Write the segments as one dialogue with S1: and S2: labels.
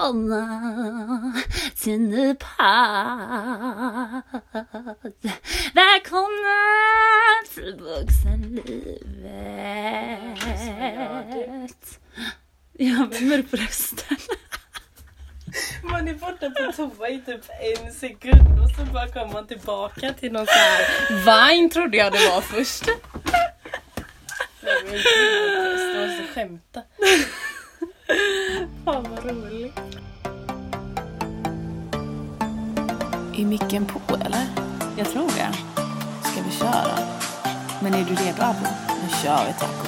S1: Välkomna till ny podd. Välkomna till vuxenlivet. Ja, vem är det på rösten?
S2: Man är borta på toa i typ en sekund och så bara kommer man tillbaka till någon så här Vine trodde jag det var först. Jag vill inte måste skämta. Fan vad roligt.
S3: Är micken på eller? Jag tror det. Ska vi köra? Men är du redo Abo? Nu kör vi taco.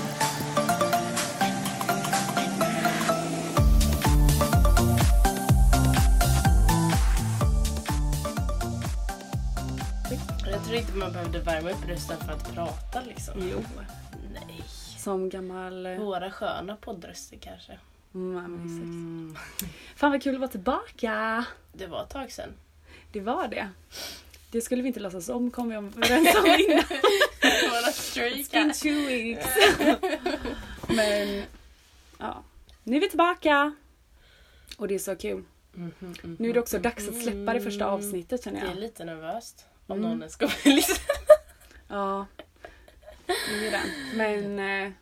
S2: Jag tror inte man behövde värma upp rösten för att prata liksom.
S1: Jo,
S2: Nej.
S1: som gammal... eh,
S2: Våra sköna poddröster kanske.
S1: Mm, exakt. Fan vad kul att vara tillbaka.
S2: Det var ett tag sedan.
S1: Det var det. Det skulle vi inte låtsas om, kom vi överens om innan.
S2: Våra
S1: It's
S2: streakar.
S1: been two weeks. Men ja, nu är vi tillbaka. Och det är så kul. Nu är det också dags att släppa det första avsnittet känner
S2: Det Mm. är
S1: jag.
S2: lite nervöst. Om
S1: Mm.
S2: någon ens kommer lyssna.
S1: Ja, det är det. Men eh,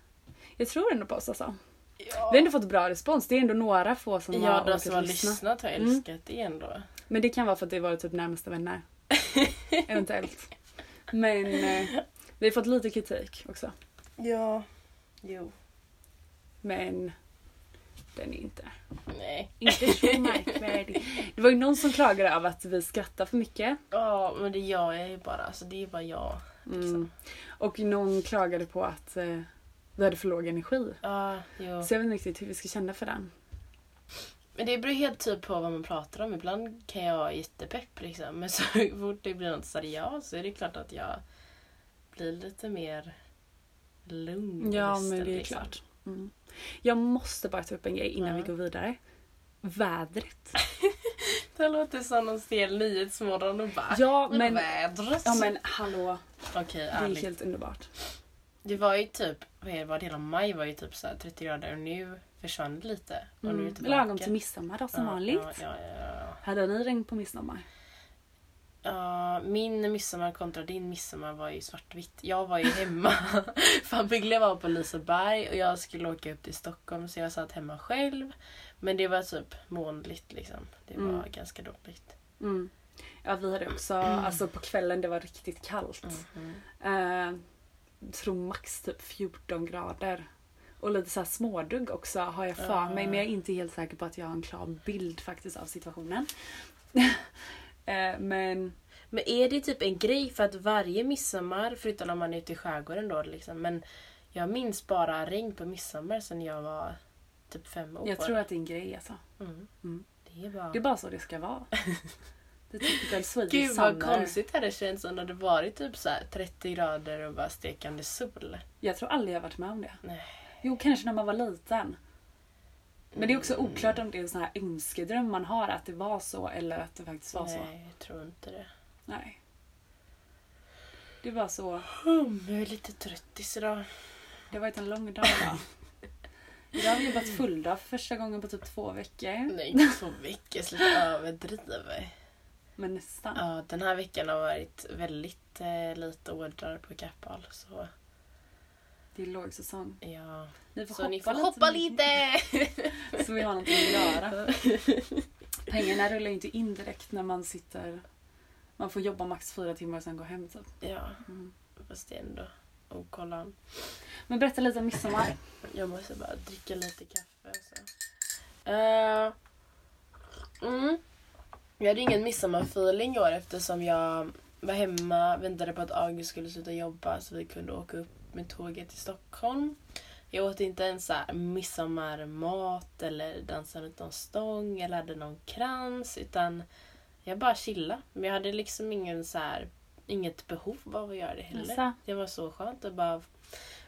S1: jag tror ändå på oss alltså. Vi har ändå fått bra respons. Det är ändå några få som
S2: Ja,
S1: har
S2: de
S1: orkat
S2: som har
S1: lyssna.
S2: lyssnat har
S1: Mm.
S2: älskat det ändå.
S1: Men det kan vara för att det var typ närmaste vänner. Eventuellt. Men eh, vi har fått lite kritik också.
S2: Ja. Jo.
S1: Men den är inte
S2: Nej.
S1: Inte så märkvärdig. Det var ju någon som klagade över att vi skrattar för mycket.
S2: Ja, men det gör jag ju bara. Alltså det är bara jag.
S1: Mm. Och någon klagade på att eh, vi hade för låg energi.
S2: Ja, jo.
S1: Så jag vet inte riktigt hur vi ska känna för den.
S2: Men det beror helt typ på vad man pratar om. Ibland kan jag vara jättepepp liksom. Men så fort det blir något seriöst så är det klart att jag blir lite mer lugn. i
S1: Mm, Ja,
S2: rösten,
S1: men det är
S2: liksom.
S1: klart. Mm. Jag måste bara ta upp en grej innan
S2: Ja.
S1: vi går vidare. Vädret.
S2: Det låter som någon stel nyhetsmorgon och bara...
S1: Ja, men-
S2: vädret.
S1: Ja men hallå,
S2: Okej,
S1: det är
S2: ärligt.
S1: helt underbart.
S2: Det var ju typ, vad är det, var det hela maj var ju typ så här 30 grader och nu försvann det lite. Och nu är det
S1: Mm.
S2: tillbaka.
S1: Lagom till midsommar då som
S2: Ja,
S1: vanligt.
S2: Ja, ja, ja, ja.
S1: Hade ni regn på midsommar?
S2: Ja, min midsommar kontra din midsommar var ju svartvitt. Jag var ju hemma. Familjen var på Liseberg och jag skulle åka upp till Stockholm så jag satt hemma själv. Men det var typ molnigt liksom. Det var
S1: Mm.
S2: ganska dåligt.
S1: Mm. Ja vi hade också,
S2: Mm.
S1: alltså på kvällen det var riktigt kallt.
S2: mm.
S1: Eh, tror max typ 14 grader. Och lite så här smådugg också har jag för mig men jag är inte helt säker på att jag har en klar bild faktiskt av situationen. eh, men
S2: Men är det typ en grej för att varje midsommar, förutom när man är ute i skärgården då liksom, men jag minns bara regn på midsommar sedan jag var typ fem år.
S1: jag tror att det är en grej alltså.
S2: Mm.
S1: Mm.
S2: Det är bara...
S1: Det är bara så det ska vara. Det tycker väl Swedish
S2: Gud vad
S1: summer.
S2: konstigt det hade känts om det hade varit typ så här 30 grader och bara stekande sol.
S1: Jag tror aldrig jag varit med om det.
S2: Nej.
S1: Jo, kanske när man var liten. Men det är
S2: Mm.
S1: också oklart om det är en sån här önskedröm man har att det var så eller att det faktiskt var så.
S2: Nej, jag tror inte det.
S1: Nej. Det var så.
S2: Hum, jag är lite tröttis idag.
S1: Det har varit en lång dag idag. Idag har vi jobbat fulldag för första gången på typ två veckor.
S2: Nej, inte två veckor. Sluta överdriva.
S1: Men nästan.
S2: Ja, den här veckan har varit väldigt eh, lite ådrar på Kappahl. Så
S1: Det är lågsäsong.
S2: ja.
S1: Ni
S2: Så ni får hoppa lite!
S1: Så vi har någonting att göra. Pengarna rullar ju inte in direkt när man sitter... Man får jobba max fyra timmar och sen gå hem typ.
S2: ja,
S1: Mm.
S2: fast det är ändå och kolla.
S1: Men berätta lite om midsommar.
S2: Jag måste bara dricka lite kaffe. Så. Eh, mm. Jag hade ingen midsommarfeeling i år eftersom jag var hemma, väntade på att August skulle sluta jobba så vi kunde åka upp med tåget till Stockholm. Jag åt inte ens så här midsommarmat eller dansade runt någon stång eller hade någon krans utan jag bara chillade. Men jag hade liksom ingen så här, inget behov av att göra det heller.
S1: Jaså?
S2: Det var så skönt att bara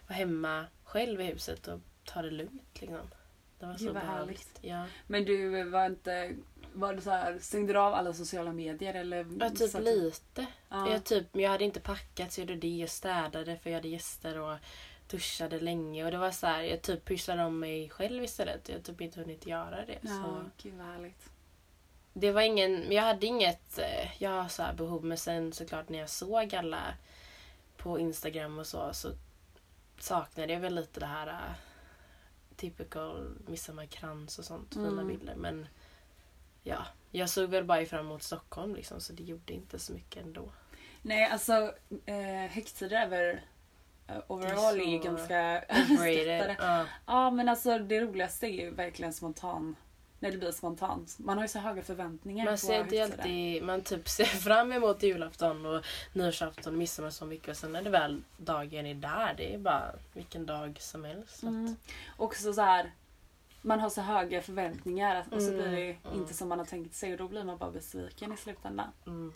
S2: vara hemma själv i huset och ta det lugnt. Liksom. Det var
S1: Gud,
S2: så
S1: vad
S2: behövligt. Ja.
S1: Men du var inte... Var du så här, stängde du av alla sociala medier eller?
S2: Ja, typ
S1: Mm, så att-
S2: lite.
S1: Ja.
S2: Jag, typ, men jag hade inte packat så jag gjorde det. Jag städade för jag hade gäster och duschade länge och det var så här, jag typ pysslade om mig själv istället. Jag har typ inte hunnit göra det. Så.
S1: Ja, gud vad härligt.
S2: Det var ingen, men jag hade inget eh, jag har så här behov men sen såklart när jag såg alla på Instagram och så så saknade jag väl lite det här eh, typical midsommarkrans och sånt, fina
S1: Mm.
S2: bilder. Men ja, jag såg väl bara fram emot Stockholm liksom så det gjorde inte så mycket ändå.
S1: Nej, alltså eh, högtider över eh, overall
S2: Det
S1: är
S2: är
S1: ju
S2: så
S1: ganska
S2: Overrated.
S1: överskattade.
S2: ja.
S1: Ja, men alltså det roligaste är ju verkligen spontan. När det blir spontant. Man har ju så höga förväntningar
S2: Man
S1: på
S2: ser inte
S1: högtider.
S2: alltid, man typ ser fram emot julafton och nyårsafton och midsommar så mycket och sen när det väl dagen är där, det är bara vilken dag som helst. Så att-
S1: Mm. Också så här, man har så höga förväntningar och så
S2: Mm,
S1: blir det
S2: mm.
S1: inte som man har tänkt sig och då blir man bara besviken i slutändan.
S2: Mm.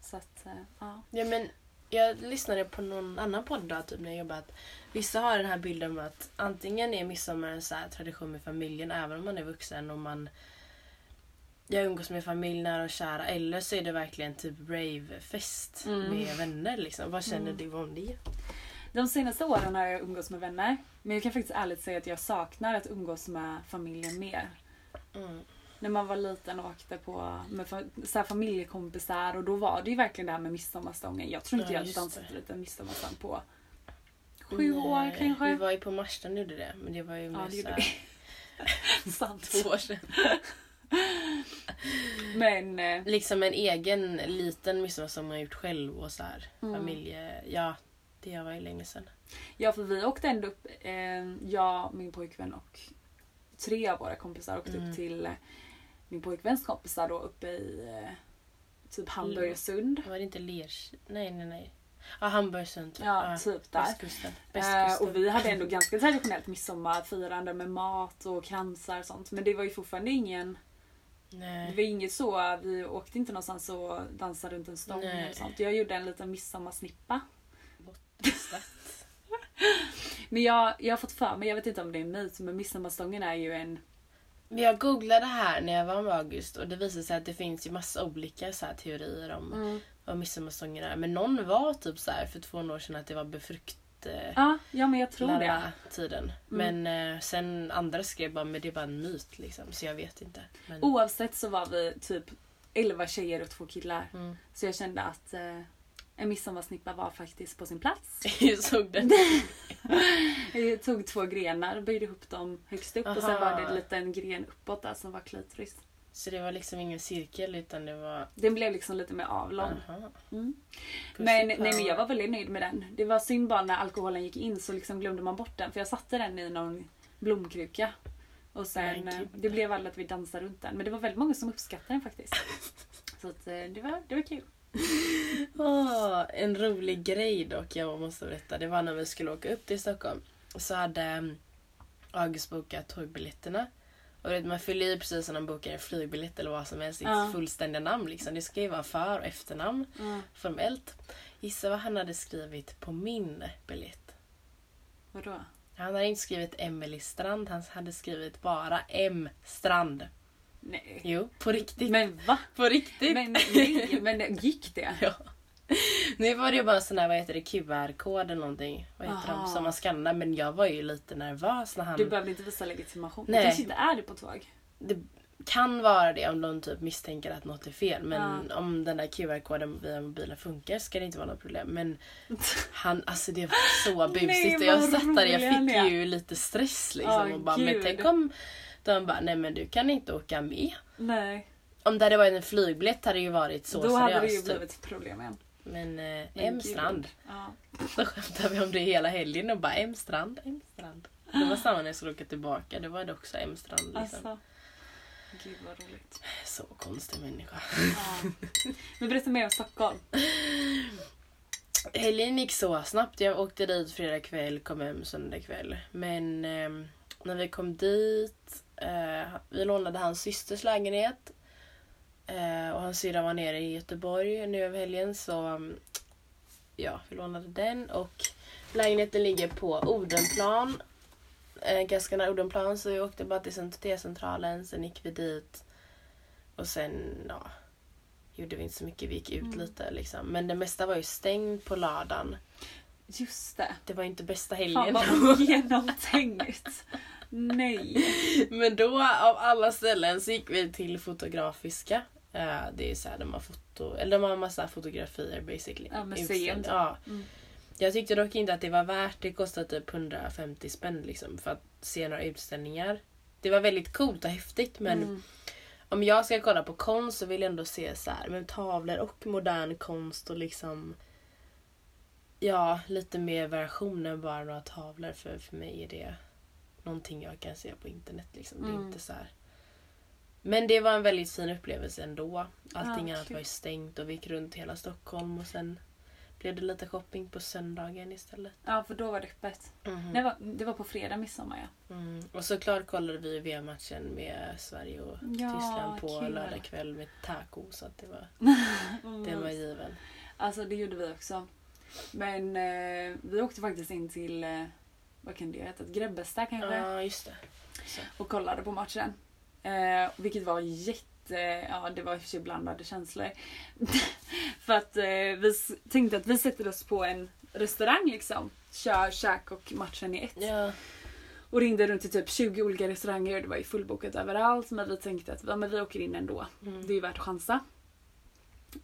S1: Så att, eh, ja.
S2: Ja, men jag lyssnade på någon annan podd då, typ när jag jobbade. att Vissa har den här bilden om att antingen är midsommar en så här tradition med familjen även om man är vuxen och man jag umgås med familj, nära och kära. Eller så är det verkligen typ ravefest
S1: Mm.
S2: med vänner. Liksom. Vad känner
S1: Mm.
S2: du om det?
S1: De senaste åren har jag umgås med vänner. Men jag kan faktiskt ärligt säga att jag saknar att umgås med familjen mer. Mm.
S2: Mm.
S1: När man var liten och åkte på med fa- så här familjekompisar och då var det ju verkligen det här med midsommarstången. Jag tror inte
S2: Ja,
S1: jag
S2: just
S1: dansat
S2: det.
S1: lite midsommarstång på sju år
S2: Nej, Vi
S1: kanske.
S2: var ju på Marstrand och gjorde det. Men det var ju
S1: Ja,
S2: mer
S1: det
S2: så
S1: gjorde
S2: här,
S1: vi. Sant.
S2: två år sedan.
S1: Men eh,
S2: Liksom en egen liten midsommar som man gjort själv och så här
S1: Mm.
S2: familje... Ja, det var ju länge sedan.
S1: Ja, för vi åkte ändå upp, eh, jag, min pojkvän och tre av våra kompisar åkte
S2: Mm.
S1: upp till eh, min pojkväns kompisar då uppe i eh, typ Hamburgersund.
S2: Var det inte Lerkil? Nej, nej, nej. Ja, Hamburgsund. typ.
S1: Ja, typ där.
S2: Västkusten.
S1: Eh,
S2: Västkusten.
S1: och vi hade ändå ganska traditionellt midsommarfirande med mat och kransar och sånt. Men det var ju fortfarande ingen, det
S2: Nej.
S1: var inget så, vi åkte inte någonstans och dansade runt en stång
S2: Nej.
S1: eller sånt. Jag gjorde en liten midsommarsnippa.
S2: Bottenstadt.
S1: Men jag, jag har fått för mig, jag vet inte om det är en myt, men midsommarstången är ju en
S2: Men jag googlade här när jag var med August och det visade sig att det finns ju massa olika så här teorier om
S1: Mm.
S2: vad midsommarstången är. Men någon var typ så här för två år sedan att det var befrukt... eh,
S1: Ja, ja men jag tror det. Mm.
S2: Larva tiden. Men eh, sen andra skrev bara men det är bara en myt liksom så jag vet inte. Men,
S1: Oh. Oavsett så var vi typ 11 tjejer och två killar.
S2: mm.
S1: Så jag kände att eh, en midsommarsnippa var faktiskt på sin plats.
S2: jag såg den.
S1: Jag tog två grenar, böjde ihop dem högst upp och sen
S2: Aha.
S1: var det en liten gren uppåt där som var klitoris.
S2: Så det var liksom ingen cirkel utan det var...
S1: Den blev liksom lite mer avlång.
S2: Aha.
S1: Mm.
S2: Pussy
S1: Men, nej, men
S2: power.
S1: jag var väldigt nöjd med den. Det var synd bara när alkoholen gick in så liksom glömde man bort den. För jag satte den i någon blomkruka. Och sen,
S2: Men
S1: eh,
S2: gud.
S1: det blev aldrig att vi dansade runt den. Men det var väldigt många som uppskattade den faktiskt. Så att, eh, det, var, det var kul.
S2: Åh, Ah, en rolig grej dock jag måste berätta. Det var när vi skulle åka upp till Stockholm. Så hade mm, August bokat tågbiljetterna. Och du vet, man fyller i precis som man bokar en flygbiljett eller vad som helst. Sitt
S1: Ja.
S2: fullständiga namn liksom. Det ska ju vara för och efternamn formellt. Gissa vad han hade skrivit på min biljett.
S1: Vadå?
S2: Han hade inte skrivit Emelie Strand, han hade skrivit bara M Strand.
S1: Nej.
S2: Jo, på riktigt.
S1: Men va?
S2: på riktigt!
S1: Men, nej, men gick det?
S2: Ja. Nu var det ju bara en sån här, vad heter det, QR-kod eller någonting. Vad heter
S1: Aha.
S2: de som man skannar? Men jag var ju lite nervös när han...
S1: Du behövde inte visa legitimation.
S2: Nej.
S1: Det kanske inte är det på tåg.
S2: Det kan vara det om de typ misstänker att något är fel. Men
S1: Ja.
S2: om den där QR-koden via mobilen funkar ska det inte vara något problem. Men han, alltså det var så busigt.
S1: Nej,
S2: och jag
S1: vad
S2: satt där, jag
S1: rolig han
S2: fick
S1: är.
S2: ju lite stress liksom.
S1: Ja,
S2: och bara, men
S1: gud.
S2: tänk om... De bara, nej men du kan inte åka med.
S1: Nej.
S2: Om det hade varit en flygbiljett hade det ju varit så
S1: Då hade det ju
S2: seriöst. typ.
S1: blivit ett problem igen.
S2: Men eh,
S1: Men
S2: M
S1: gud.
S2: strand.
S1: Ja.
S2: Då skämtade vi om det hela helgen och bara M strand, M strand. Det var samma när jag skulle åka tillbaka, då var det också M strand. Liksom.
S1: Alltså. Gud vad roligt.
S2: Så konstig människa.
S1: Ja. Men berätta mer om Stockholm.
S2: Helgen gick så snabbt. Jag åkte dit fredag kväll, kom hem söndag kväll. Men ehm, när vi kom dit, eh, vi lånade hans systers lägenhet. Eh, och hans syrra var nere i Göteborg nu över helgen så mm, ja, vi lånade den. Och lägenheten ligger på Odenplan. Eh, ganska nära Odenplan så vi åkte bara till cent- T-centralen, sen gick vi dit. Och sen ja, gjorde vi inte så mycket, vi gick ut
S1: Mm.
S2: lite liksom. Men det mesta var ju stängt på lördagen.
S1: Just det.
S2: Det var inte bästa
S1: Fan
S2: helgen.
S1: vad ogenomtänkt. Nej.
S2: Men då av alla ställen så gick vi till Fotografiska. Eh, det är så här, de har foto, eller de har massa fotografier basically.
S1: Ja, museum.
S2: Utställning. Ja.
S1: Mm.
S2: Jag tyckte dock inte att det var värt, det kostade typ 150 spänn liksom för att se några utställningar. Det var väldigt coolt och häftigt men
S1: Mm.
S2: om jag ska kolla på konst så vill jag ändå se så här, men tavlor och modern konst och liksom Ja, lite mer variation än bara några tavlor för, för mig är det någonting jag kan se på internet. Liksom. Det
S1: Mm.
S2: är inte så här. Men det var en väldigt fin upplevelse ändå. Allting
S1: Ja,
S2: annat
S1: Ah, kul.
S2: var ju stängt och vi gick runt hela Stockholm och sen blev det lite shopping på söndagen istället.
S1: Ja, för då var det öppet.
S2: Mhm.
S1: Det var, det var på fredag midsommar ja.
S2: Mm. Och såklart kollade vi VM-matchen med Sverige och
S1: Ja,
S2: Tyskland på
S1: kul.
S2: lördag kväll med taco. Så att det var
S1: Mm.
S2: Den var given.
S1: Alltså det gjorde vi också. Men eh, vi åkte faktiskt in till, eh, vad kan det heta, Grebbestad
S2: Ja,
S1: kanske?
S2: just det. Så.
S1: och kollade på matchen. Eh, vilket var jätte... Ja, det var i och för sig blandade känslor. för att eh, vi s- tänkte att vi sätter oss på en restaurang liksom. Kör käk och matchen i ett.
S2: Ja.
S1: Och ringde runt till typ 20 olika restauranger och det var ju fullbokat överallt. Men vi tänkte att ja, men vi åker in ändå.
S2: mm.
S1: Det är ju värt att chansa.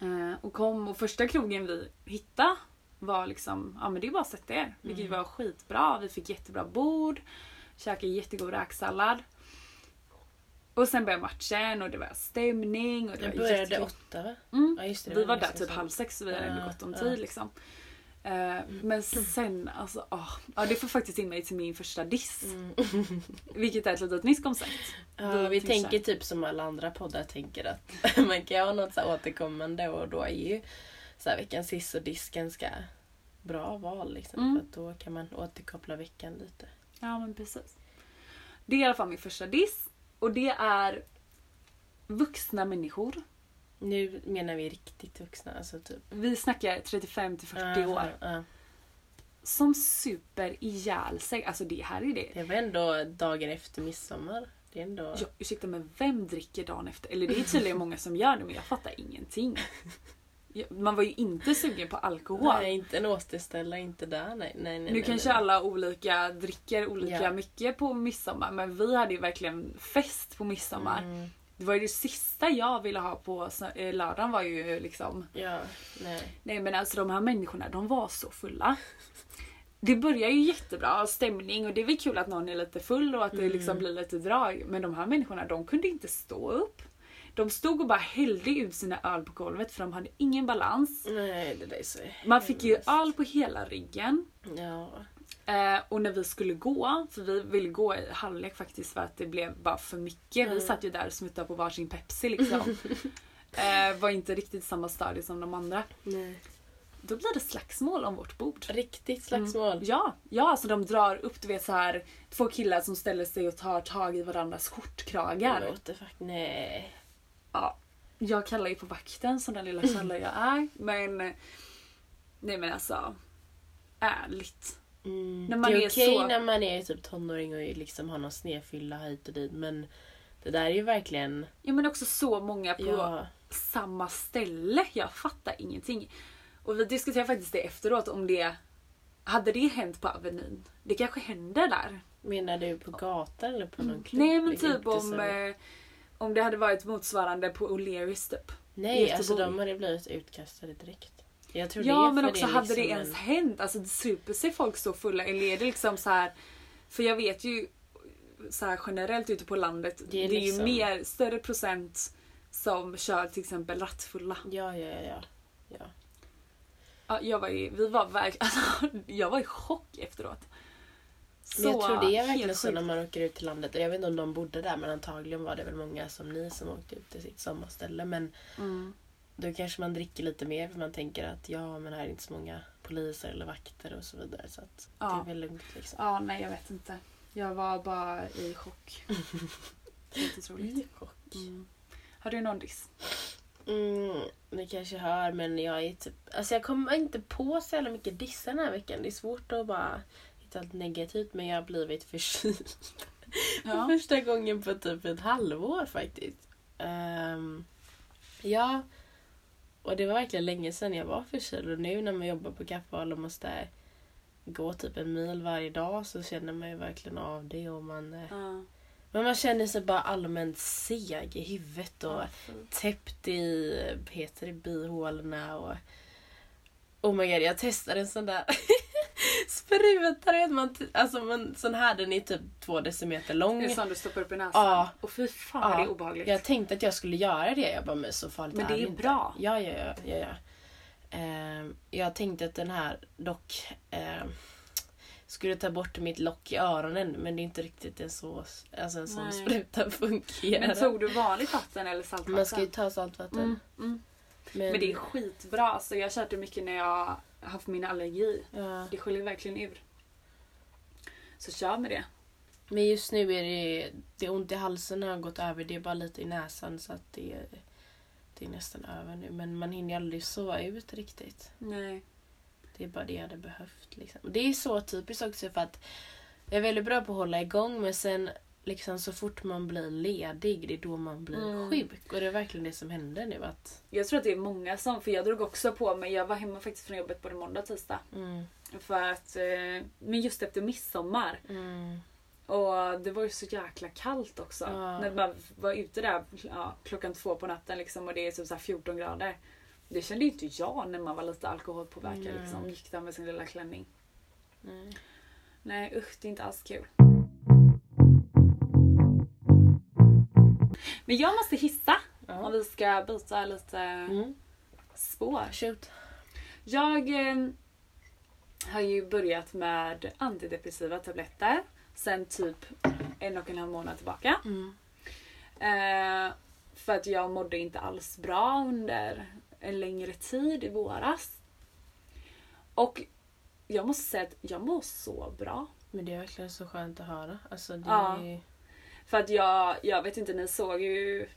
S1: Eh, och kom och första krogen vi hittade var liksom, ja men det är bara att sätta er. Vilket
S2: Mm.
S1: var skitbra. Vi fick jättebra bord. Käkade jättegod räksallad. Och sen började matchen och det var stämning och det,
S2: Det
S1: var
S2: började
S1: jättekul.
S2: åtta va?
S1: Mm.
S2: Ja, just det, det
S1: Vi var där
S2: nästan
S1: typ
S2: så.
S1: halv sex så vi hade ändå
S2: Ja,
S1: gott om
S2: ja. Mm.
S1: tid liksom. Eh, men sen alltså, åh. ja det får faktiskt in mig till min första diss.
S2: Mm.
S1: Vilket är ett litet nytt koncept.
S2: Ja, vi
S1: till
S2: tänker
S1: käk.
S2: typ som alla andra poddar tänker att man kan ha något så här återkommande och då är ju så här veckans hiss och disk ganska bra val liksom.
S1: Mm.
S2: För att då kan man återkoppla veckan lite.
S1: Ja men precis. Det är i alla fall min första diss. Och det är vuxna människor.
S2: Nu menar vi riktigt vuxna, alltså typ
S1: Vi snackar 35 till 40 år.
S2: Ja, ja.
S1: Som super ihjäl sig. Alltså det här är det.
S2: Det var ändå dagen efter midsommar. Det är ändå...
S1: Jag, ursäkta men vem dricker dagen efter? Eller det är tydligen många som gör det men jag fattar ingenting. Jag- Man var ju inte sugen på alkohol.
S2: Nej, inte en återställa, inte där. Nej, nej, nej.
S1: Nu
S2: nej,
S1: kanske
S2: nej.
S1: alla olika dricker olika
S2: Ja.
S1: mycket på midsommar men vi hade ju verkligen fest på midsommar.
S2: Mm.
S1: Det var ju det sista jag ville ha på sö- eh, lördagen var ju liksom...
S2: Ja, nej.
S1: Nej men alltså de här människorna, de var så fulla. Det börjar ju jättebra, stämning och det är väl kul att någon är lite full och att det
S2: Mm.
S1: liksom blir lite drag. Men de här människorna, de kunde inte stå upp. De stod och bara hällde ut sina öl på golvet för de hade ingen balans.
S2: Nej, det där är så...
S1: Man fick ju öl på hela ryggen.
S2: Ja.
S1: Eh, och när vi skulle gå, för vi ville gå i halvlek faktiskt för att det blev bara för mycket.
S2: Mm.
S1: Vi satt ju där och smuttade på varsin Pepsi liksom. eh, var inte riktigt samma stadie som de andra.
S2: Nej.
S1: Då blir det slagsmål om vårt bord.
S2: Riktigt slagsmål.
S1: Mm. Ja, ja alltså de drar upp du vet så här två killar som ställer sig och tar tag i varandras skjortkragar.
S2: What the fuck? Nej.
S1: Ja, jag kallar ju på vakten som den lilla källa jag är. Men nej men alltså ärligt. När man
S2: Mm. det är,
S1: är
S2: okej
S1: så-
S2: när man är typ tonåring och liksom har någon snedfylla hit och dit men det där är ju verkligen...
S1: Ja men också så många på
S2: Ja.
S1: samma ställe. Jag fattar ingenting. Och vi diskuterade faktiskt det efteråt om det hade det hänt på Avenyn. Det kanske händer där.
S2: Menar du på gatan eller på någon klubb?
S1: Nej men
S2: Det är
S1: typ
S2: inte
S1: om,
S2: så-
S1: eh, om det hade varit motsvarande på O'Learys typ.
S2: Nej, alltså
S1: Göteborg.
S2: de hade blivit utkastade direkt. Jag tror det är
S1: Ja
S2: för
S1: men också
S2: det är
S1: hade
S2: liksom
S1: det ens
S2: en-
S1: hänt? Alltså super sig folk så fulla? Eller är det liksom så här För jag vet ju så här generellt ute på landet. Det
S2: Det
S1: är,
S2: är liksom-
S1: ju mer, större procent som kör till exempel rattfulla.
S2: Ja, ja, ja. ja. ja.
S1: Ja, jag var ju, vi var verk, alltså, jag var i chock efteråt. Så
S2: Men jag tror det är verkligen
S1: helt
S2: så när
S1: sjukt.
S2: man åker ut till landet. Och jag vet inte om de bodde där men antagligen var det väl många som ni som åkte ut till sitt sommarställe. Men
S1: Mm.
S2: då kanske man dricker lite mer för man tänker att ja men här är inte så många poliser eller vakter och så vidare. Så att det
S1: Ja.
S2: är väl lugnt liksom.
S1: Ja, nej jag vet inte. Jag var bara i chock. Helt otroligt. Mm. Har du någon diss?
S2: Mm, ni kanske hör men jag är typ... Alltså jag kommer inte på så jävla mycket dissar den här veckan. Det är svårt att bara hitta allt negativt men jag har blivit förkyld. För
S1: Ja.
S2: första gången på typ ett halvår faktiskt. Ehm, ja. Och det var verkligen länge sedan jag var förkyld och nu när man jobbar på kaffeval och måste går typ en mil varje dag så känner man ju verkligen av det. Och man, eh,
S1: Ja.
S2: men man känner sig bara allmänt seg i huvudet och
S1: Ja, fy.
S2: täppt i, heter det, bihålorna och... Oh my god, jag testade en sån där spruta. du vet, Man, t- alltså man, sån här, den är typ två decimeter
S1: Det är
S2: lång.
S1: sån du stoppar upp i näsan.
S2: Ja.
S1: Och fy fan
S2: Ja.
S1: det är obehagligt.
S2: Jag tänkte att jag skulle göra det. Jag bara, men så farligt
S1: Men det är
S2: inte.
S1: bra.
S2: Ja, ja, ja. ja, ja. Ehm, jag tänkte att den här dock ehm, skulle ta bort mitt lock i öronen men det är inte riktigt en, så, alltså en sån
S1: Nej.
S2: spruta fungerar.
S1: Men tog du vanligt vatten eller saltvatten?
S2: Man ska ju ta saltvatten.
S1: Mm, mm. Men det är skitbra. Alltså, jag har kört det mycket när jag har haft min allergi.
S2: ja.
S1: Det skiljer verkligen ur. Så kör med det.
S2: Men just nu är det, det ont i halsen har gått över. Det är bara lite i näsan så att det, är- det är nästan över nu. Men man hinner ju aldrig sova ut riktigt.
S1: Nej.
S2: Det är bara det jag hade behövt. Liksom. Och Det är så typiskt också för att jag är väldigt bra på att hålla igång men sen liksom så fort man blir ledig det är då man blir
S1: Mm.
S2: sjuk. Och det är verkligen det som händer nu. Att,
S1: Jag tror att det är många som, för jag drog också på mig, jag var hemma faktiskt från jobbet både måndag och tisdag.
S2: mm,
S1: För att, eh, men just efter midsommar.
S2: mm,
S1: Och det var ju så jäkla kallt också.
S2: Ja.
S1: När man var ute där ja, klockan två på natten liksom, och det är typ så här 14 grader. Det kände ju inte jag när man var lite alkoholpåverkad.
S2: Nej.
S1: Liksom, gick där med sin lilla klänning.
S2: nej.
S1: Nej usch, det är inte alls kul. Men jag måste hissa om
S2: Ja.
S1: vi ska byta lite
S2: Mm.
S1: spår.
S2: Shoot.
S1: Jag eh, har ju börjat med antidepressiva tabletter sen typ en och en halv månad tillbaka.
S2: Mm.
S1: Eh, för att jag mådde inte alls bra under en längre tid i våras. Och jag måste säga att jag mår så bra.
S2: Men det är verkligen så skönt att höra. Alltså det
S1: Ja.
S2: är...
S1: För att jag, jag vet inte, ni såg ju...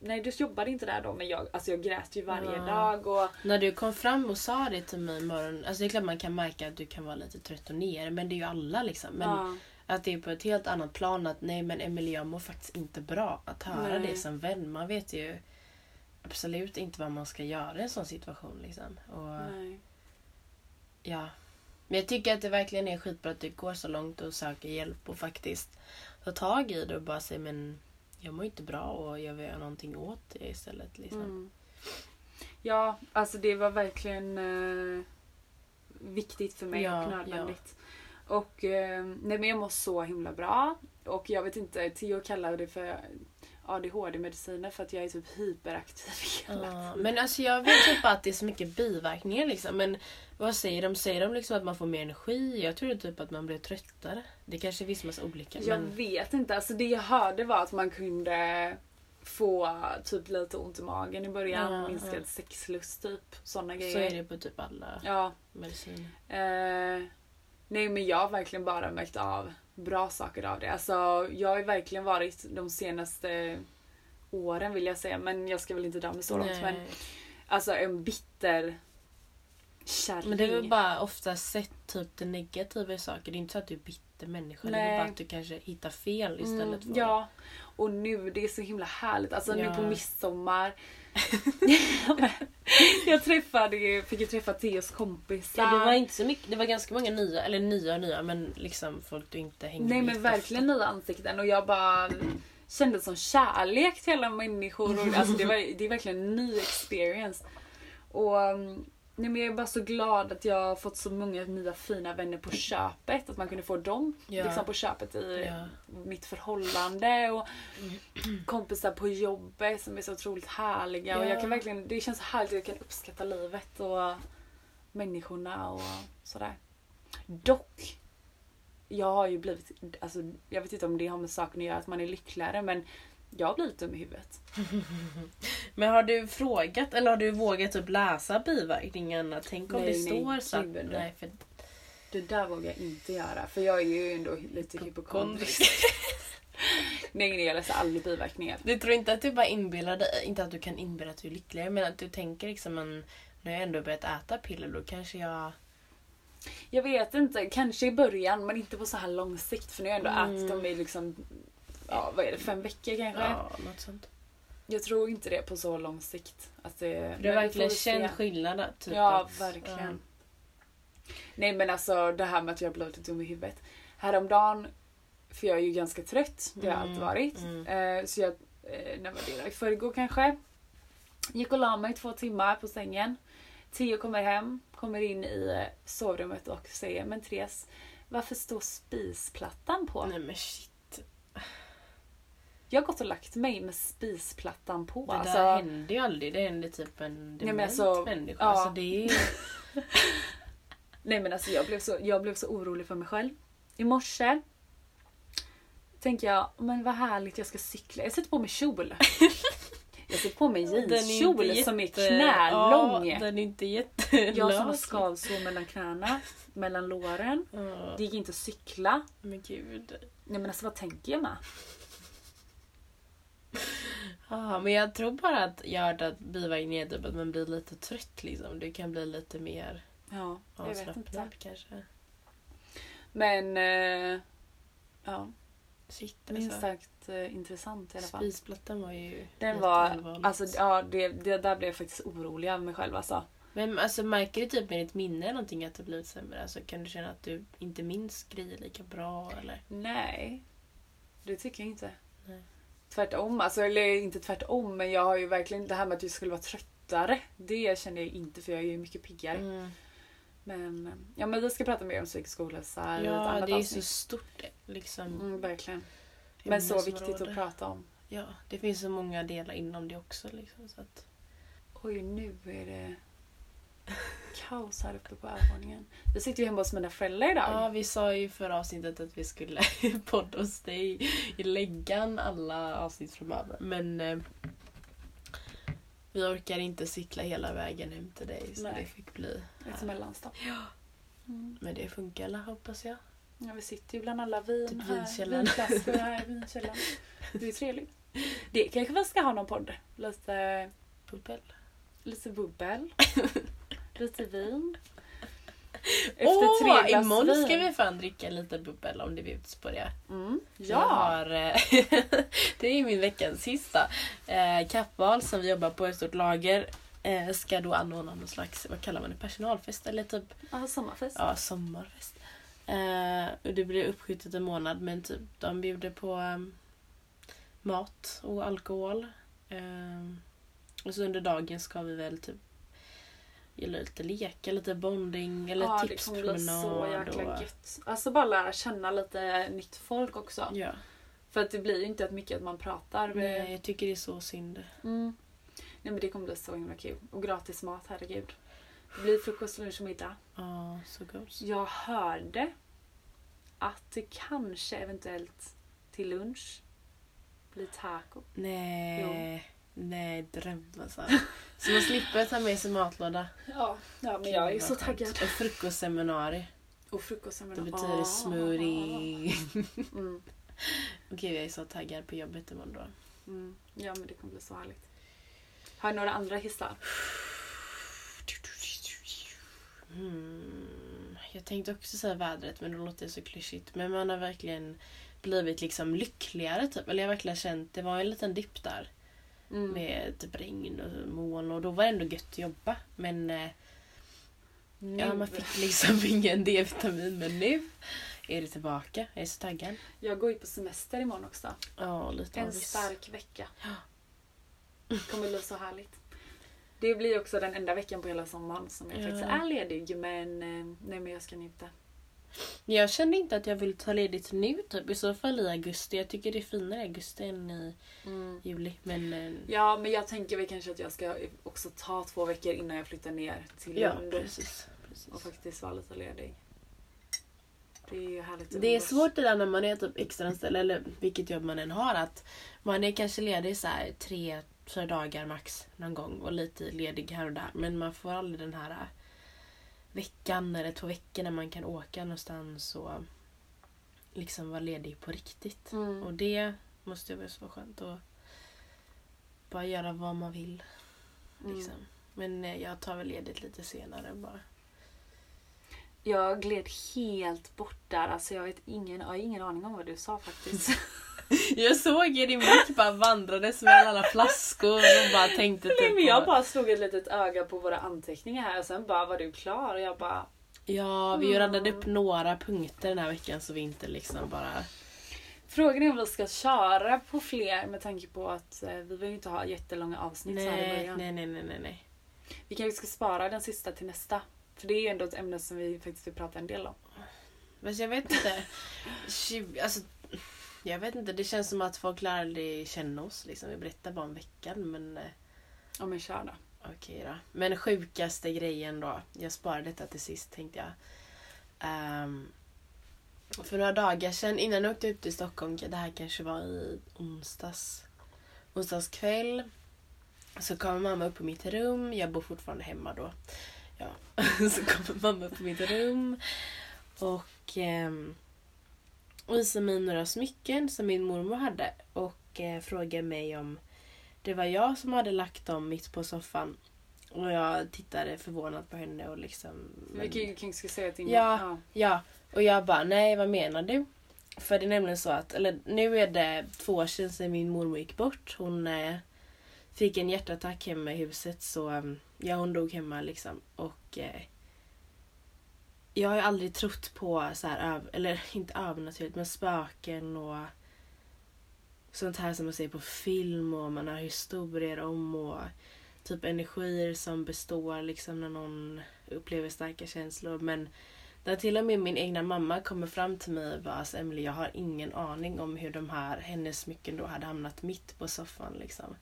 S1: Nej du jobbade inte där då men jag, alltså jag grät ju varje
S2: Ja.
S1: dag och...
S2: När du kom fram och sa det till mig imorgon, alltså det är klart man kan märka att du kan vara lite trött och ner, men det är ju alla liksom. Men
S1: ja.
S2: att det är på ett helt annat plan att nej men Emilie jag mår faktiskt inte bra. Att höra
S1: Nej.
S2: det som vän, man vet ju absolut inte vad man ska göra i en sån situation liksom. Och,
S1: Nej.
S2: ja. Men jag tycker att det verkligen är skitbra att du går så långt och söker hjälp och faktiskt tar tag i det och bara säger men jag mår inte bra och jag vill göra någonting åt det istället. Liksom.
S1: Mm. Ja, alltså det var verkligen eh, viktigt för mig
S2: Ja,
S1: och nödvändigt. Och eh, nej men jag mår så himla bra. Och jag vet inte, Theo kallar det för ADHD-mediciner för att jag är typ hyperaktiv hela
S2: Ja,
S1: tiden.
S2: men alltså jag vet typ att det är så mycket biverkningar liksom. Men vad säger de? Säger de liksom att man får mer energi? Jag tror typ att man blir tröttare. Det kanske finns massa olika.
S1: Jag
S2: men...
S1: vet inte, alltså det jag hörde var att man kunde få typ lite ont i magen i början,
S2: Ja,
S1: minskad
S2: ja.
S1: sexlust typ. Sådana
S2: Så
S1: grejer.
S2: är det på typ alla
S1: Ja.
S2: mediciner.
S1: Eh, nej men jag har verkligen bara märkt av bra saker av det. Alltså jag har ju verkligen varit de senaste åren vill jag säga, men jag ska väl inte dra mig så långt. Men
S2: Nej.
S1: alltså en bitter kärring.
S2: Men det är väl bara ofta sett typ det negativa i saker. Det är inte så att du är bitter människa. Det är
S1: Nej.
S2: bara att du kanske hittar fel istället
S1: Mm,
S2: för...
S1: ja. Och nu, det är så himla härligt. Alltså nu
S2: Ja.
S1: på midsommar. jag träffade ju, fick ju träffa Theos kompisar.
S2: Ja, det var inte så mycket. Det var ganska många nya, eller nya och nya, men liksom folk du inte hängde
S1: Nej
S2: med
S1: men
S2: ofta.
S1: verkligen nya ansikten och jag bara kände som kärlek till alla människor. Och, alltså, det, var, det är verkligen en ny experience. Och, um, nej, men jag är bara så glad att jag har fått så många nya fina vänner på köpet. Att man kunde få dem
S2: Ja.
S1: liksom, på köpet i
S2: Ja.
S1: mitt förhållande. Och kompisar på jobbet som är så otroligt härliga. Och
S2: Ja.
S1: jag kan verkligen, det känns så härligt att jag kan uppskatta livet och människorna och sådär. Dock. Jag har ju blivit, alltså, jag vet inte om det har med saken att göra att man är lyckligare men jag har blivit dum i huvudet.
S2: Men har du frågat eller har du vågat typ läsa biverkningarna? Tänk om
S1: Nej,
S2: det
S1: nej,
S2: står så att...
S1: gud,
S2: Nej, för
S1: Det där vågar jag inte göra för jag är ju ändå lite hypokondrisk. Nej nej jag läser aldrig biverkningar.
S2: Du tror inte att du bara inbillar dig, inte att du kan inbilla att du är lyckligare men att du tänker liksom en, nu har jag ändå börjat äta piller då kanske jag...
S1: Jag vet inte, kanske i början men inte på så här lång sikt för nu har jag ändå
S2: Mm.
S1: ätit dem i liksom, ja vad är det, fem veckor kanske?
S2: Ja, något sånt.
S1: Jag tror inte det på så lång sikt. Att det,
S2: För du har
S1: men vi
S2: verkligen
S1: får väl se.
S2: känt skillnad. Typ
S1: Ja
S2: att,
S1: verkligen.
S2: Ja.
S1: Nej men alltså det här med att jag har blivit dum i huvudet. Häromdagen, för jag är ju ganska trött, det har jag alltid
S2: Mm.
S1: varit. Eh, Så jag, eh, när var det då? I förrgår kanske. Gick och la mig två timmar på sängen. Tio kommer hem, kommer in i eh, sovrummet och säger Men Therese, varför står spisplattan på?
S2: Nej men shit.
S1: Jag har gått och lagt mig med spisplattan på.
S2: Det
S1: alltså,
S2: där hände ju aldrig. Det hände typ en
S1: men
S2: dement
S1: alltså,
S2: människa.
S1: ja.
S2: Alltså det är...
S1: Nej men alltså jag blev, så, jag blev så orolig för mig själv. I morse tänker jag, men vad härligt jag ska cykla. Jag sätter på mig kjol. Jag sätter på mig jeanskjol som är knälång.
S2: Ja, den är inte jättelång.
S1: jag som har skavsår mellan knäna, mellan låren.
S2: Ja,
S1: Det gick inte att cykla.
S2: men gud.
S1: Nej men alltså vad tänker jag med?
S2: Ja, men jag tror bara att gör att bivägen är typ att man blir lite trött liksom. Du kan bli lite mer
S1: Ja, jag vet inte.
S2: avslappnad kanske.
S1: Men eh, ja,
S2: Shit
S1: minst
S2: alltså.
S1: sagt eh, intressant i alla fall.
S2: Spisplattan var ju
S1: Den var,
S2: jätteallvarligt.
S1: alltså ja, det, det där blev jag faktiskt orolig över mig själv alltså.
S2: Men alltså, märker du typ med ditt minne någonting att det blivit sämre? Alltså, kan du känna att du inte minns grejer lika bra? Eller?
S1: Nej, det tycker jag inte.
S2: Nej.
S1: Tvärtom, alltså, eller inte tvärtom men jag har ju verkligen det här med att du skulle vara tröttare. Det känner jag inte för jag är ju mycket piggare.
S2: Mm.
S1: Men, ja, men vi ska prata mer om psykisk ohälsa i ett
S2: Ja,
S1: annat
S2: det är ju så
S1: avsnitt.
S2: stort liksom.
S1: Mm, verkligen. Men så viktigt att prata om.
S2: Ja, det finns så många delar inom det också. Liksom, så att...
S1: Oj, nu är det kaos här uppe på övervåningen. Vi sitter ju hemma hos mina föräldrar idag.
S2: Ja, vi sa ju i förra avsnittet att vi skulle podda hos dig i läggan alla avsnitt framöver. Men eh, vi orkar inte cykla hela vägen hem till dig så
S1: Nej.
S2: det fick bli
S1: Ett
S2: här.
S1: mellanstopp.
S2: Men det funkar alla hoppas jag.
S1: Ja, vi sitter ju bland alla vin
S2: Typ
S1: här.
S2: vinkällaren.
S1: Vinflaskor här i vinkällaren. Det är trevligt. Det kanske vi ska ha någon podd. Lite,
S2: Bubbel.
S1: lite bubbel. lite vin.
S2: Åh,
S1: glas
S2: imorgon ska
S1: vin.
S2: vi fan dricka lite bubbel om det bjuds på det.
S1: Mm,
S2: Jag
S1: ja!
S2: har, eh, det är ju min veckans sista eh, kappval som vi jobbar på ett stort lager. Eh, ska då anordna någon slags, vad kallar man det, personalfest eller typ
S1: ja sommarfest.
S2: ja, sommarfest. Eh, och det blir uppskjutet en månad men typ de bjuder på eh, mat och alkohol. Eh, och så under dagen ska vi väl typ gilla lite leka, lite bonding eller
S1: Ja, det kommer bli
S2: tipspromenad.
S1: så jäkla
S2: och-
S1: gött. Alltså bara lära känna lite nytt folk också.
S2: Ja.
S1: För att det blir ju inte att mycket att man pratar.
S2: Nej, jag tycker det är så synd.
S1: Mm. Nej men det kommer bli så himla kul. Och gratis mat, herregud. Det blir frukost, lunch och middag.
S2: Ja, så gott.
S1: Jag hörde att det kanske eventuellt till lunch blir taco.
S2: Nej. Nej, dröm alltså. Så man slipper ta med sig matlåda.
S1: Ja, ja men
S2: Gud, vad skönt. Och frukostseminarium.
S1: Och frukost
S2: Då betyder
S1: Ah.
S2: det smoothie. Okej, jag är så taggad på jobbet imorgon då.
S1: Mm. Ja men det kommer bli så härligt. Har jag några andra hissar?
S2: Mm, jag tänkte också säga vädret men då låter det så klyschigt. Men man har verkligen blivit liksom lyckligare typ. Eller jag har verkligen känt, det var en liten dipp där.
S1: Mm.
S2: Med typ regn och moln och då var det ändå gött att jobba. Men eh, Ja,
S1: Nu.
S2: man fick liksom ingen D-vitamin men nu är det tillbaka. Jag är så taggad.
S1: Jag går ju på semester imorgon också.
S2: Ja, lite
S1: En
S2: av viss-
S1: stark vecka. Det kommer bli så härligt. Det blir också den enda veckan på hela sommaren som jag
S2: Ja.
S1: faktiskt är ledig men eh, nej men jag ska njuta.
S2: Men Jag kände inte att jag vill ta ledigt nu typ. I så fall i augusti. Jag tycker det är finare i augusti än i juli. Men eh,
S1: Mm. Ja men jag tänker väl kanske att jag ska också ta två veckor innan jag flyttar ner till
S2: ja,
S1: Lund
S2: precis.
S1: och
S2: precis.
S1: faktiskt vara lite ledig. Det är ju härligt. att
S2: Det är
S1: umgås.
S2: svårt det där när man är typ extraanställd eller vilket jobb man än har att man är kanske ledig så här tre, fyra dagar max någon gång och lite ledig här och där. Men man får aldrig den här eh, veckan eller två veckor när man kan åka någonstans och liksom vara ledig på riktigt.
S1: Mm.
S2: Och det måste ju vara så skönt att bara göra vad man vill. Liksom. Men eh, jag tar väl ledigt lite senare bara.
S1: Jag gled helt bort där. Alltså jag vet ingen, jag har ingen aning om vad du sa faktiskt.
S2: Jag såg i din blick bara vandrades mellan alla flaskor och bara tänkte
S1: Nej,
S2: typ
S1: men
S2: på-
S1: jag bara slog ett litet öga på våra anteckningar här och sen bara var du klar och jag bara
S2: Ja,
S1: Mm.
S2: vi radade upp några punkter den här veckan så vi inte liksom bara...
S1: Frågan är om vi ska köra på fler med tanke på att eh, vi vill ju inte ha jättelånga avsnitt så här i
S2: Nej,
S1: början.
S2: nej, nej, nej, nej, nej.
S1: Vi kanske ska spara den sista till nästa. För det är ju ändå ett ämne som vi faktiskt vill prata en del om.
S2: Fast jag vet inte. Tjugo- alltså, jag vet inte, det känns som att folk lär aldrig känna oss. Liksom. Vi berättar bara om veckan men eh,
S1: Ja men kör då.
S2: okej då. Men sjukaste grejen då. Jag sparade detta till sist tänkte jag. Ehm, för några dagar sedan innan jag åkte upp till Stockholm, det här kanske var i onsdags, onsdags kväll. Så kommer mamma upp på mitt rum, jag bor fortfarande hemma då. Ja. Så kommer mamma upp på mitt rum och ehm, visar mig några smycken som min mormor hade och eh, frågar mig om det var jag som hade lagt dem mitt på soffan. Och jag tittade förvånat på henne och liksom...
S1: Vi kan ju kanske säga att Ingmar...
S2: Ja. Ja, och jag bara nej vad menar du? För det är nämligen så att, eller nu är det två år sedan sedan min mormor gick bort. Hon eh, fick en hjärtattack hemma i huset så eh, ja hon dog hemma liksom. Och eh, jag har ju aldrig trott på så här, öv, eller inte övernaturligt men spöken och sånt här som man ser på film och man har historier om och typ energier som består liksom när någon upplever starka känslor. Men där till och med min egna mamma kommer fram till mig och bara alltså Emily, jag har ingen aning om hur de här hennes smycken då hade hamnat mitt på soffan liksom.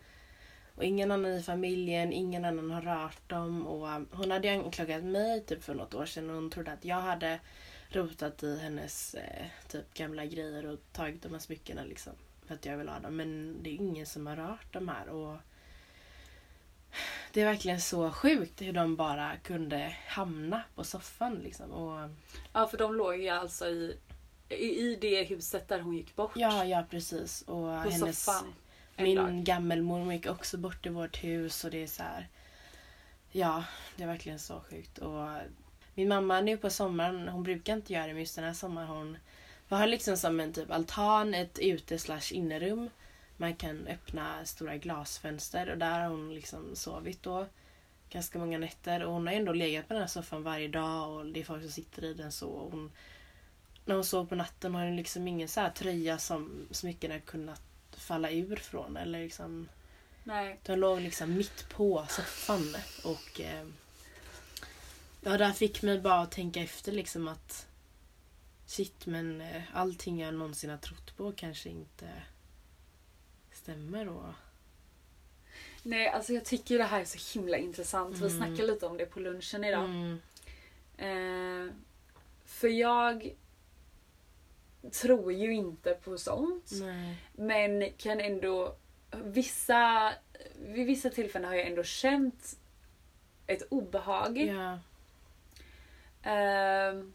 S2: Och ingen annan i familjen, ingen annan har rört dem och um, hon hade ju anklagat mig typ för något år sedan och hon trodde att jag hade rotat i hennes eh, typ gamla grejer och tagit de här smyckena liksom. För att jag vill ha dem. Men det är ingen som har rört de här och det är verkligen så sjukt hur de bara kunde hamna på soffan liksom. Och,
S1: ja för de låg ju alltså i, i, i det huset där hon gick bort.
S2: Ja, ja precis. Och
S1: på
S2: hennes,
S1: soffan. En dag.
S2: min gammelmormor gick också bort i vårt hus och det är så här. Ja, det är verkligen så sjukt. Och min mamma nu på sommaren, hon brukar inte göra det men just den här sommaren har hon vi har liksom som en typ altan, ett ute slash innerum. Man kan öppna stora glasfönster och där har hon liksom sovit då ganska många nätter. Och hon har ju ändå legat på den här soffan varje dag och det är folk som sitter i den så. Och hon, när hon sov på natten har hon liksom ingen så här tröja som smyckena kunnat falla ur från. Eller liksom,
S1: Nej.
S2: de låg liksom mitt på soffan. Och eh, ja, det här fick mig bara att tänka efter liksom att shit men eh, allting jag någonsin har trott på kanske inte stämmer då.
S1: Nej alltså jag tycker det här är så himla intressant. Vi snackade lite om det på lunchen idag.
S2: Mm.
S1: Eh, för jag tror ju inte på sånt.
S2: Nej.
S1: Men kan ändå... Vissa, vid vissa tillfällen har jag ändå känt ett obehag.
S2: Ja.
S1: Ehm,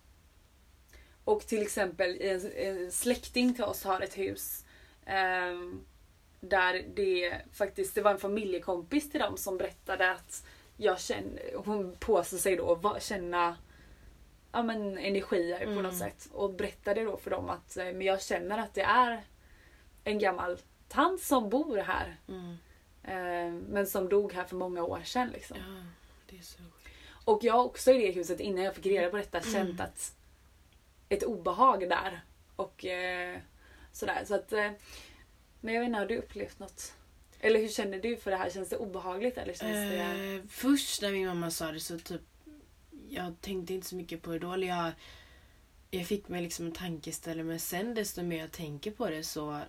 S1: och till exempel en, en släkting till oss har ett hus ehm, där det faktiskt det var en familjekompis till dem som berättade att jag känner, hon påstår sig då va- känna ja, men, energier på något sätt och berättade då för dem att eh, men jag känner att det är en gammal tant som bor här
S2: Mm.
S1: ehm, men som dog här för många år sedan. Liksom.
S2: ja. Det är så sjukt.
S1: Och jag har också i det huset innan jag fick reda på detta
S2: Mm.
S1: känt att ett obehag där. Och eh, sådär. Så att, eh, men jag vet inte, har du upplevt något? Eller hur känner du för det här? Känns det obehagligt eller känns det...
S2: Eh, först när min mamma sa det så typ jag tänkte inte så mycket på det då. Eller jag, jag fick mig liksom en tankeställare men sen desto mer jag tänker på det så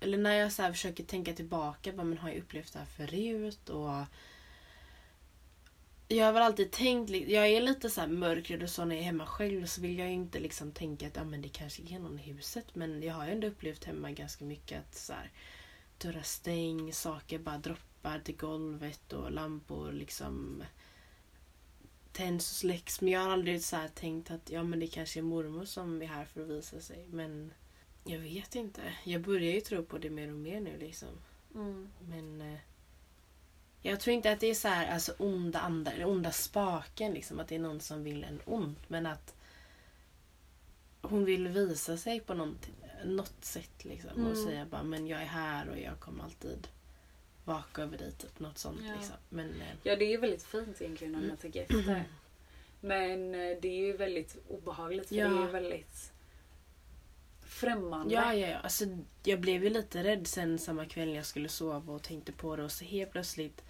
S2: eller när jag så här försöker tänka tillbaka, bara, men har jag upplevt det här förut? Och jag har väl alltid tänkt, li- jag är lite så här mörkrädd och så när jag är hemma själv så vill jag ju inte liksom tänka att ja, men det kanske är någon i huset. Men jag har ju ändå upplevt hemma ganska mycket att så här, dörrar stängs, saker bara droppar till golvet och lampor liksom tänds och släcks. Men jag har aldrig så här tänkt att ja, men det kanske är mormor som är här för att visa sig. Men jag vet inte. Jag börjar ju tro på det mer och mer nu liksom.
S1: Mm.
S2: Men eh, jag tror inte att det är så här, alltså onda andar, eller onda spaken liksom, att det är någon som vill en ont. Men att hon vill visa sig på något, något sätt liksom. Och
S1: Mm.
S2: säga bara, men jag är här och jag kommer alltid vaka över dig. Typ, något sånt
S1: Ja.
S2: liksom. Men eh, Mm.
S1: Ja det är väldigt fint egentligen om man tänker efter. Men eh, det är ju väldigt obehagligt för
S2: Ja.
S1: det är ju väldigt främmande.
S2: Ja, ja, ja. Alltså, jag blev ju lite rädd sen samma kväll när jag skulle sova och tänkte på det och så helt plötsligt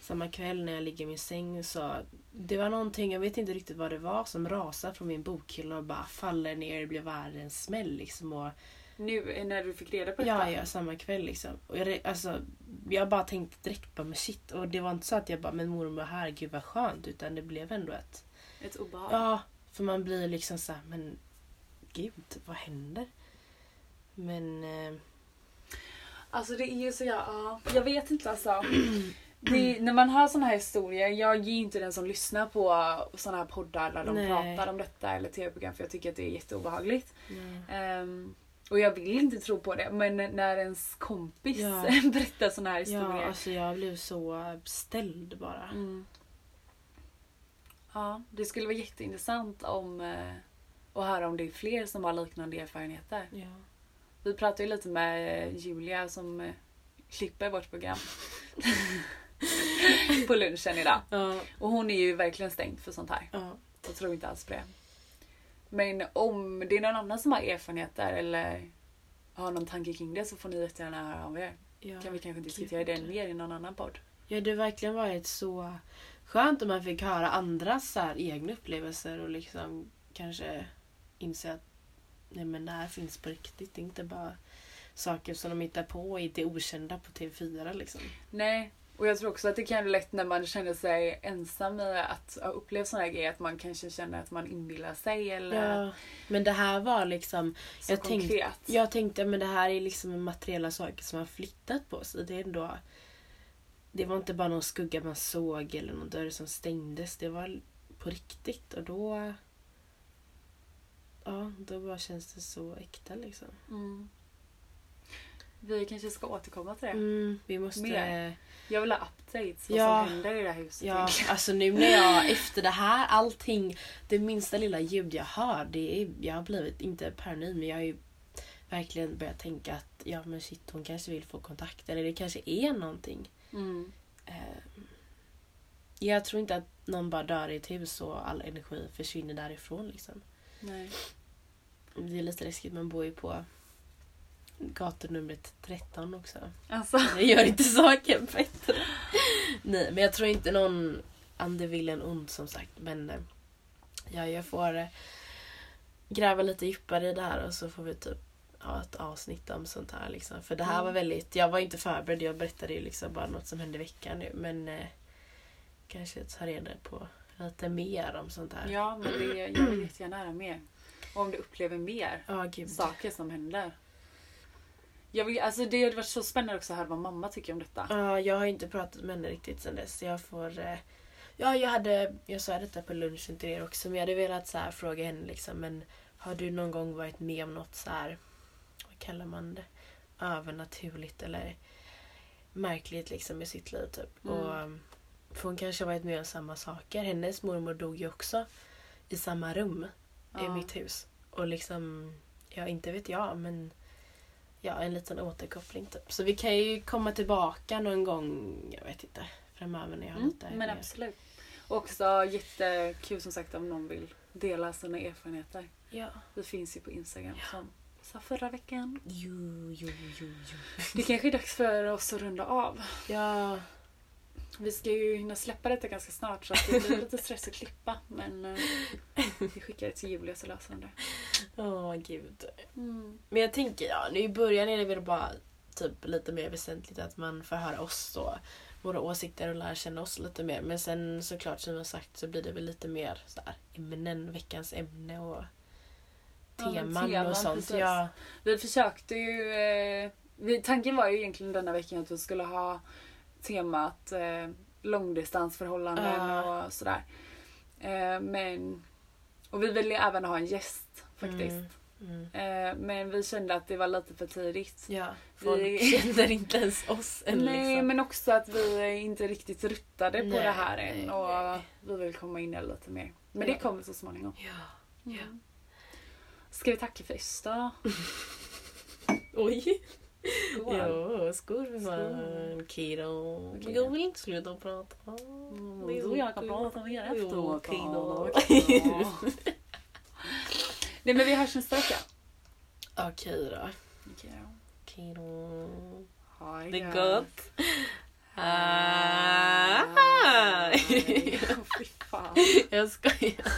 S2: samma kväll när jag ligger i min säng så det var någonting, jag vet inte riktigt vad det var, som rasade från min bokhylla och bara faller ner. Det blev värre en smäll liksom. Och,
S1: Nu eh, när du fick reda på
S2: ja,
S1: detta.
S2: ja, samma kväll liksom. Och jag, re- alltså, jag bara tänkte direkt bara men shit. Och det var inte så att jag bara men mormor här, gud vad skönt. Utan det blev ändå ett
S1: Ett obehag.
S2: Ja, för man blir liksom så här, men gud, vad händer? Men eh,
S1: Alltså det är ju så jag... Ja, jag vet inte alltså. Det, när man hör såna här historier, jag är ju inte den som lyssnar på såna här poddar där de
S2: Nej.
S1: pratar om detta eller tv-program för jag tycker att det är jätteobehagligt. Ehm, och jag vill inte tro på det men när ens kompis
S2: Ja.
S1: berättar såna här
S2: ja,
S1: historier.
S2: alltså jag blev så ställd bara.
S1: Mm. Ja, det skulle vara jätteintressant om eh, att höra om det är fler som har liknande erfarenheter.
S2: Ja.
S1: Vi pratade ju lite med eh, Julia som eh, klipper vårt program. på lunchen idag.
S2: Ja,
S1: Och hon är ju verkligen stängd för sånt här.
S2: ja.
S1: Jag tror inte alls på det. Men om det är någon annan som har erfarenheter eller har någon tanke kring det så får ni jättegärna höra av er.
S2: ja.
S1: Kan vi kanske diskutera det mer i någon annan podd.
S2: ja det har verkligen varit så skönt om man fick höra andras så här, egna upplevelser och liksom kanske inse att nej men det här finns på riktigt. Det är inte bara saker som de hittar på i det okända på TV4 liksom.
S1: Nej, och jag tror också att det kan vara lätt när man känner sig ensam i att ha upplevt sådana här grejer att man kanske känner att man inbillar sig eller
S2: Ja. Men det här var liksom
S1: så
S2: jag tänkte-
S1: konkret.
S2: Jag tänkte men det här är liksom materiella saker som har flyttat på sig. Det är ändå... Det var inte bara någon skugga man såg eller någon dörr som stängdes. Det var på riktigt och då... Ja, då bara känns det så äkta liksom.
S1: Mm. Vi kanske ska återkomma till det.
S2: Mm, vi måste...
S1: Mer. Jag vill ha updates vad
S2: Ja.
S1: som händer i det här huset.
S2: Ja, alltså nu när jag efter det här, allting, det minsta lilla ljud jag hör, det är, jag har blivit, inte paranoid, men jag har ju verkligen börjat tänka att ja men shit hon kanske vill få kontakt eller det kanske är någonting.
S1: Mm.
S2: Eh, jag tror inte att någon bara dör i ett hus och all energi försvinner därifrån liksom.
S1: Nej.
S2: Det är lite läskigt, man bor ju på gatunumret 13 också.
S1: Alltså.
S2: Det gör inte saken bättre. Nej, men jag tror inte någon ande vill en ond som sagt. Men eh, ja, jag får eh, gräva lite djupare i det här och så får vi typ ha ett avsnitt om sånt här. Liksom. För det här
S1: Mm.
S2: var väldigt, jag var inte förberedd. Jag berättade ju liksom bara något som hände i veckan nu. Men eh, kanske ta reda på lite mer om sånt här.
S1: Ja, men det, jag vill jättegärna höra mer. Och om du upplever mer
S2: Ja, gud.
S1: saker som händer. Jag vill, alltså det hade varit så spännande också att höra vad mamma tycker om detta.
S2: Ja, jag har inte pratat med henne riktigt sen dess. så Jag får... eh, Ja, jag hade... Jag sa detta på lunchen till er också, men jag hade velat så här, fråga henne liksom. Men har du någon gång varit med om något så här... Vad kallar man det? Övernaturligt eller märkligt liksom i sitt liv typ.
S1: Mm.
S2: Och, um, för hon kanske har varit med om samma saker. Hennes mormor dog ju också i samma rum i
S1: Ja.
S2: mitt hus. Och liksom, ja inte vet jag men ja, en liten återkoppling typ. Så vi kan ju komma tillbaka någon gång, jag vet inte, framöver när jag har
S1: Mm,
S2: lite
S1: men
S2: mer.
S1: absolut. Också jättekul som sagt om någon vill dela sina erfarenheter.
S2: Ja.
S1: Vi finns ju på Instagram som sa förra veckan.
S2: Jo, jo, jo, jo.
S1: Det kanske är dags för oss att runda av.
S2: Ja,
S1: Vi ska ju hinna släppa detta ganska snart så att det blir lite stress att klippa. Men eh, vi skickar det till Julia så löser hon det.
S2: åh gud. Men jag tänker, ja, nu i början är det väl bara typ lite mer väsentligt att man får höra oss då. Våra åsikter och lära känna oss lite mer. Men sen såklart som jag sagt så blir det väl lite mer så här, ämnen, veckans ämne och
S1: Ja, men
S2: teman
S1: teman,
S2: och sånt.
S1: precis.
S2: Ja,
S1: Vi försökte ju... Eh, vi, tanken var ju egentligen denna veckan att vi skulle ha temat eh, långdistansförhållanden
S2: Ja.
S1: och sådär. Eh, men... Och vi ville ju även ha en gäst faktiskt.
S2: Mm, mm.
S1: Eh, men vi kände att det var lite för tidigt.
S2: Ja, folk
S1: Vi-
S2: känner inte ens oss än
S1: Nej
S2: liksom.
S1: men också att vi inte riktigt ruttade på
S2: Nej,
S1: det här än
S2: nej,
S1: och
S2: nej.
S1: vi vill komma in i det lite mer. Men
S2: Ja.
S1: det kommer så småningom. Mm.
S2: Ja.
S1: Ska vi tacka för oss då?
S2: Oj!
S1: Skål.
S2: Jo, skål för fan.
S1: Skål.
S2: Kido.
S1: Okej.
S2: Jag vill inte sluta prata. Det är
S1: Mm, Du
S2: så
S1: och jag
S2: kul.
S1: kan prata mer
S2: Jo,
S1: efteråt.
S2: Kido.
S1: Ja. Nej men vi hörs nästa vecka.
S2: Okej då.
S1: Okej
S2: Kido.
S1: Ha
S2: Det är
S1: gött.
S2: gott. Hej.
S1: Fy fan.
S2: Jag skojar.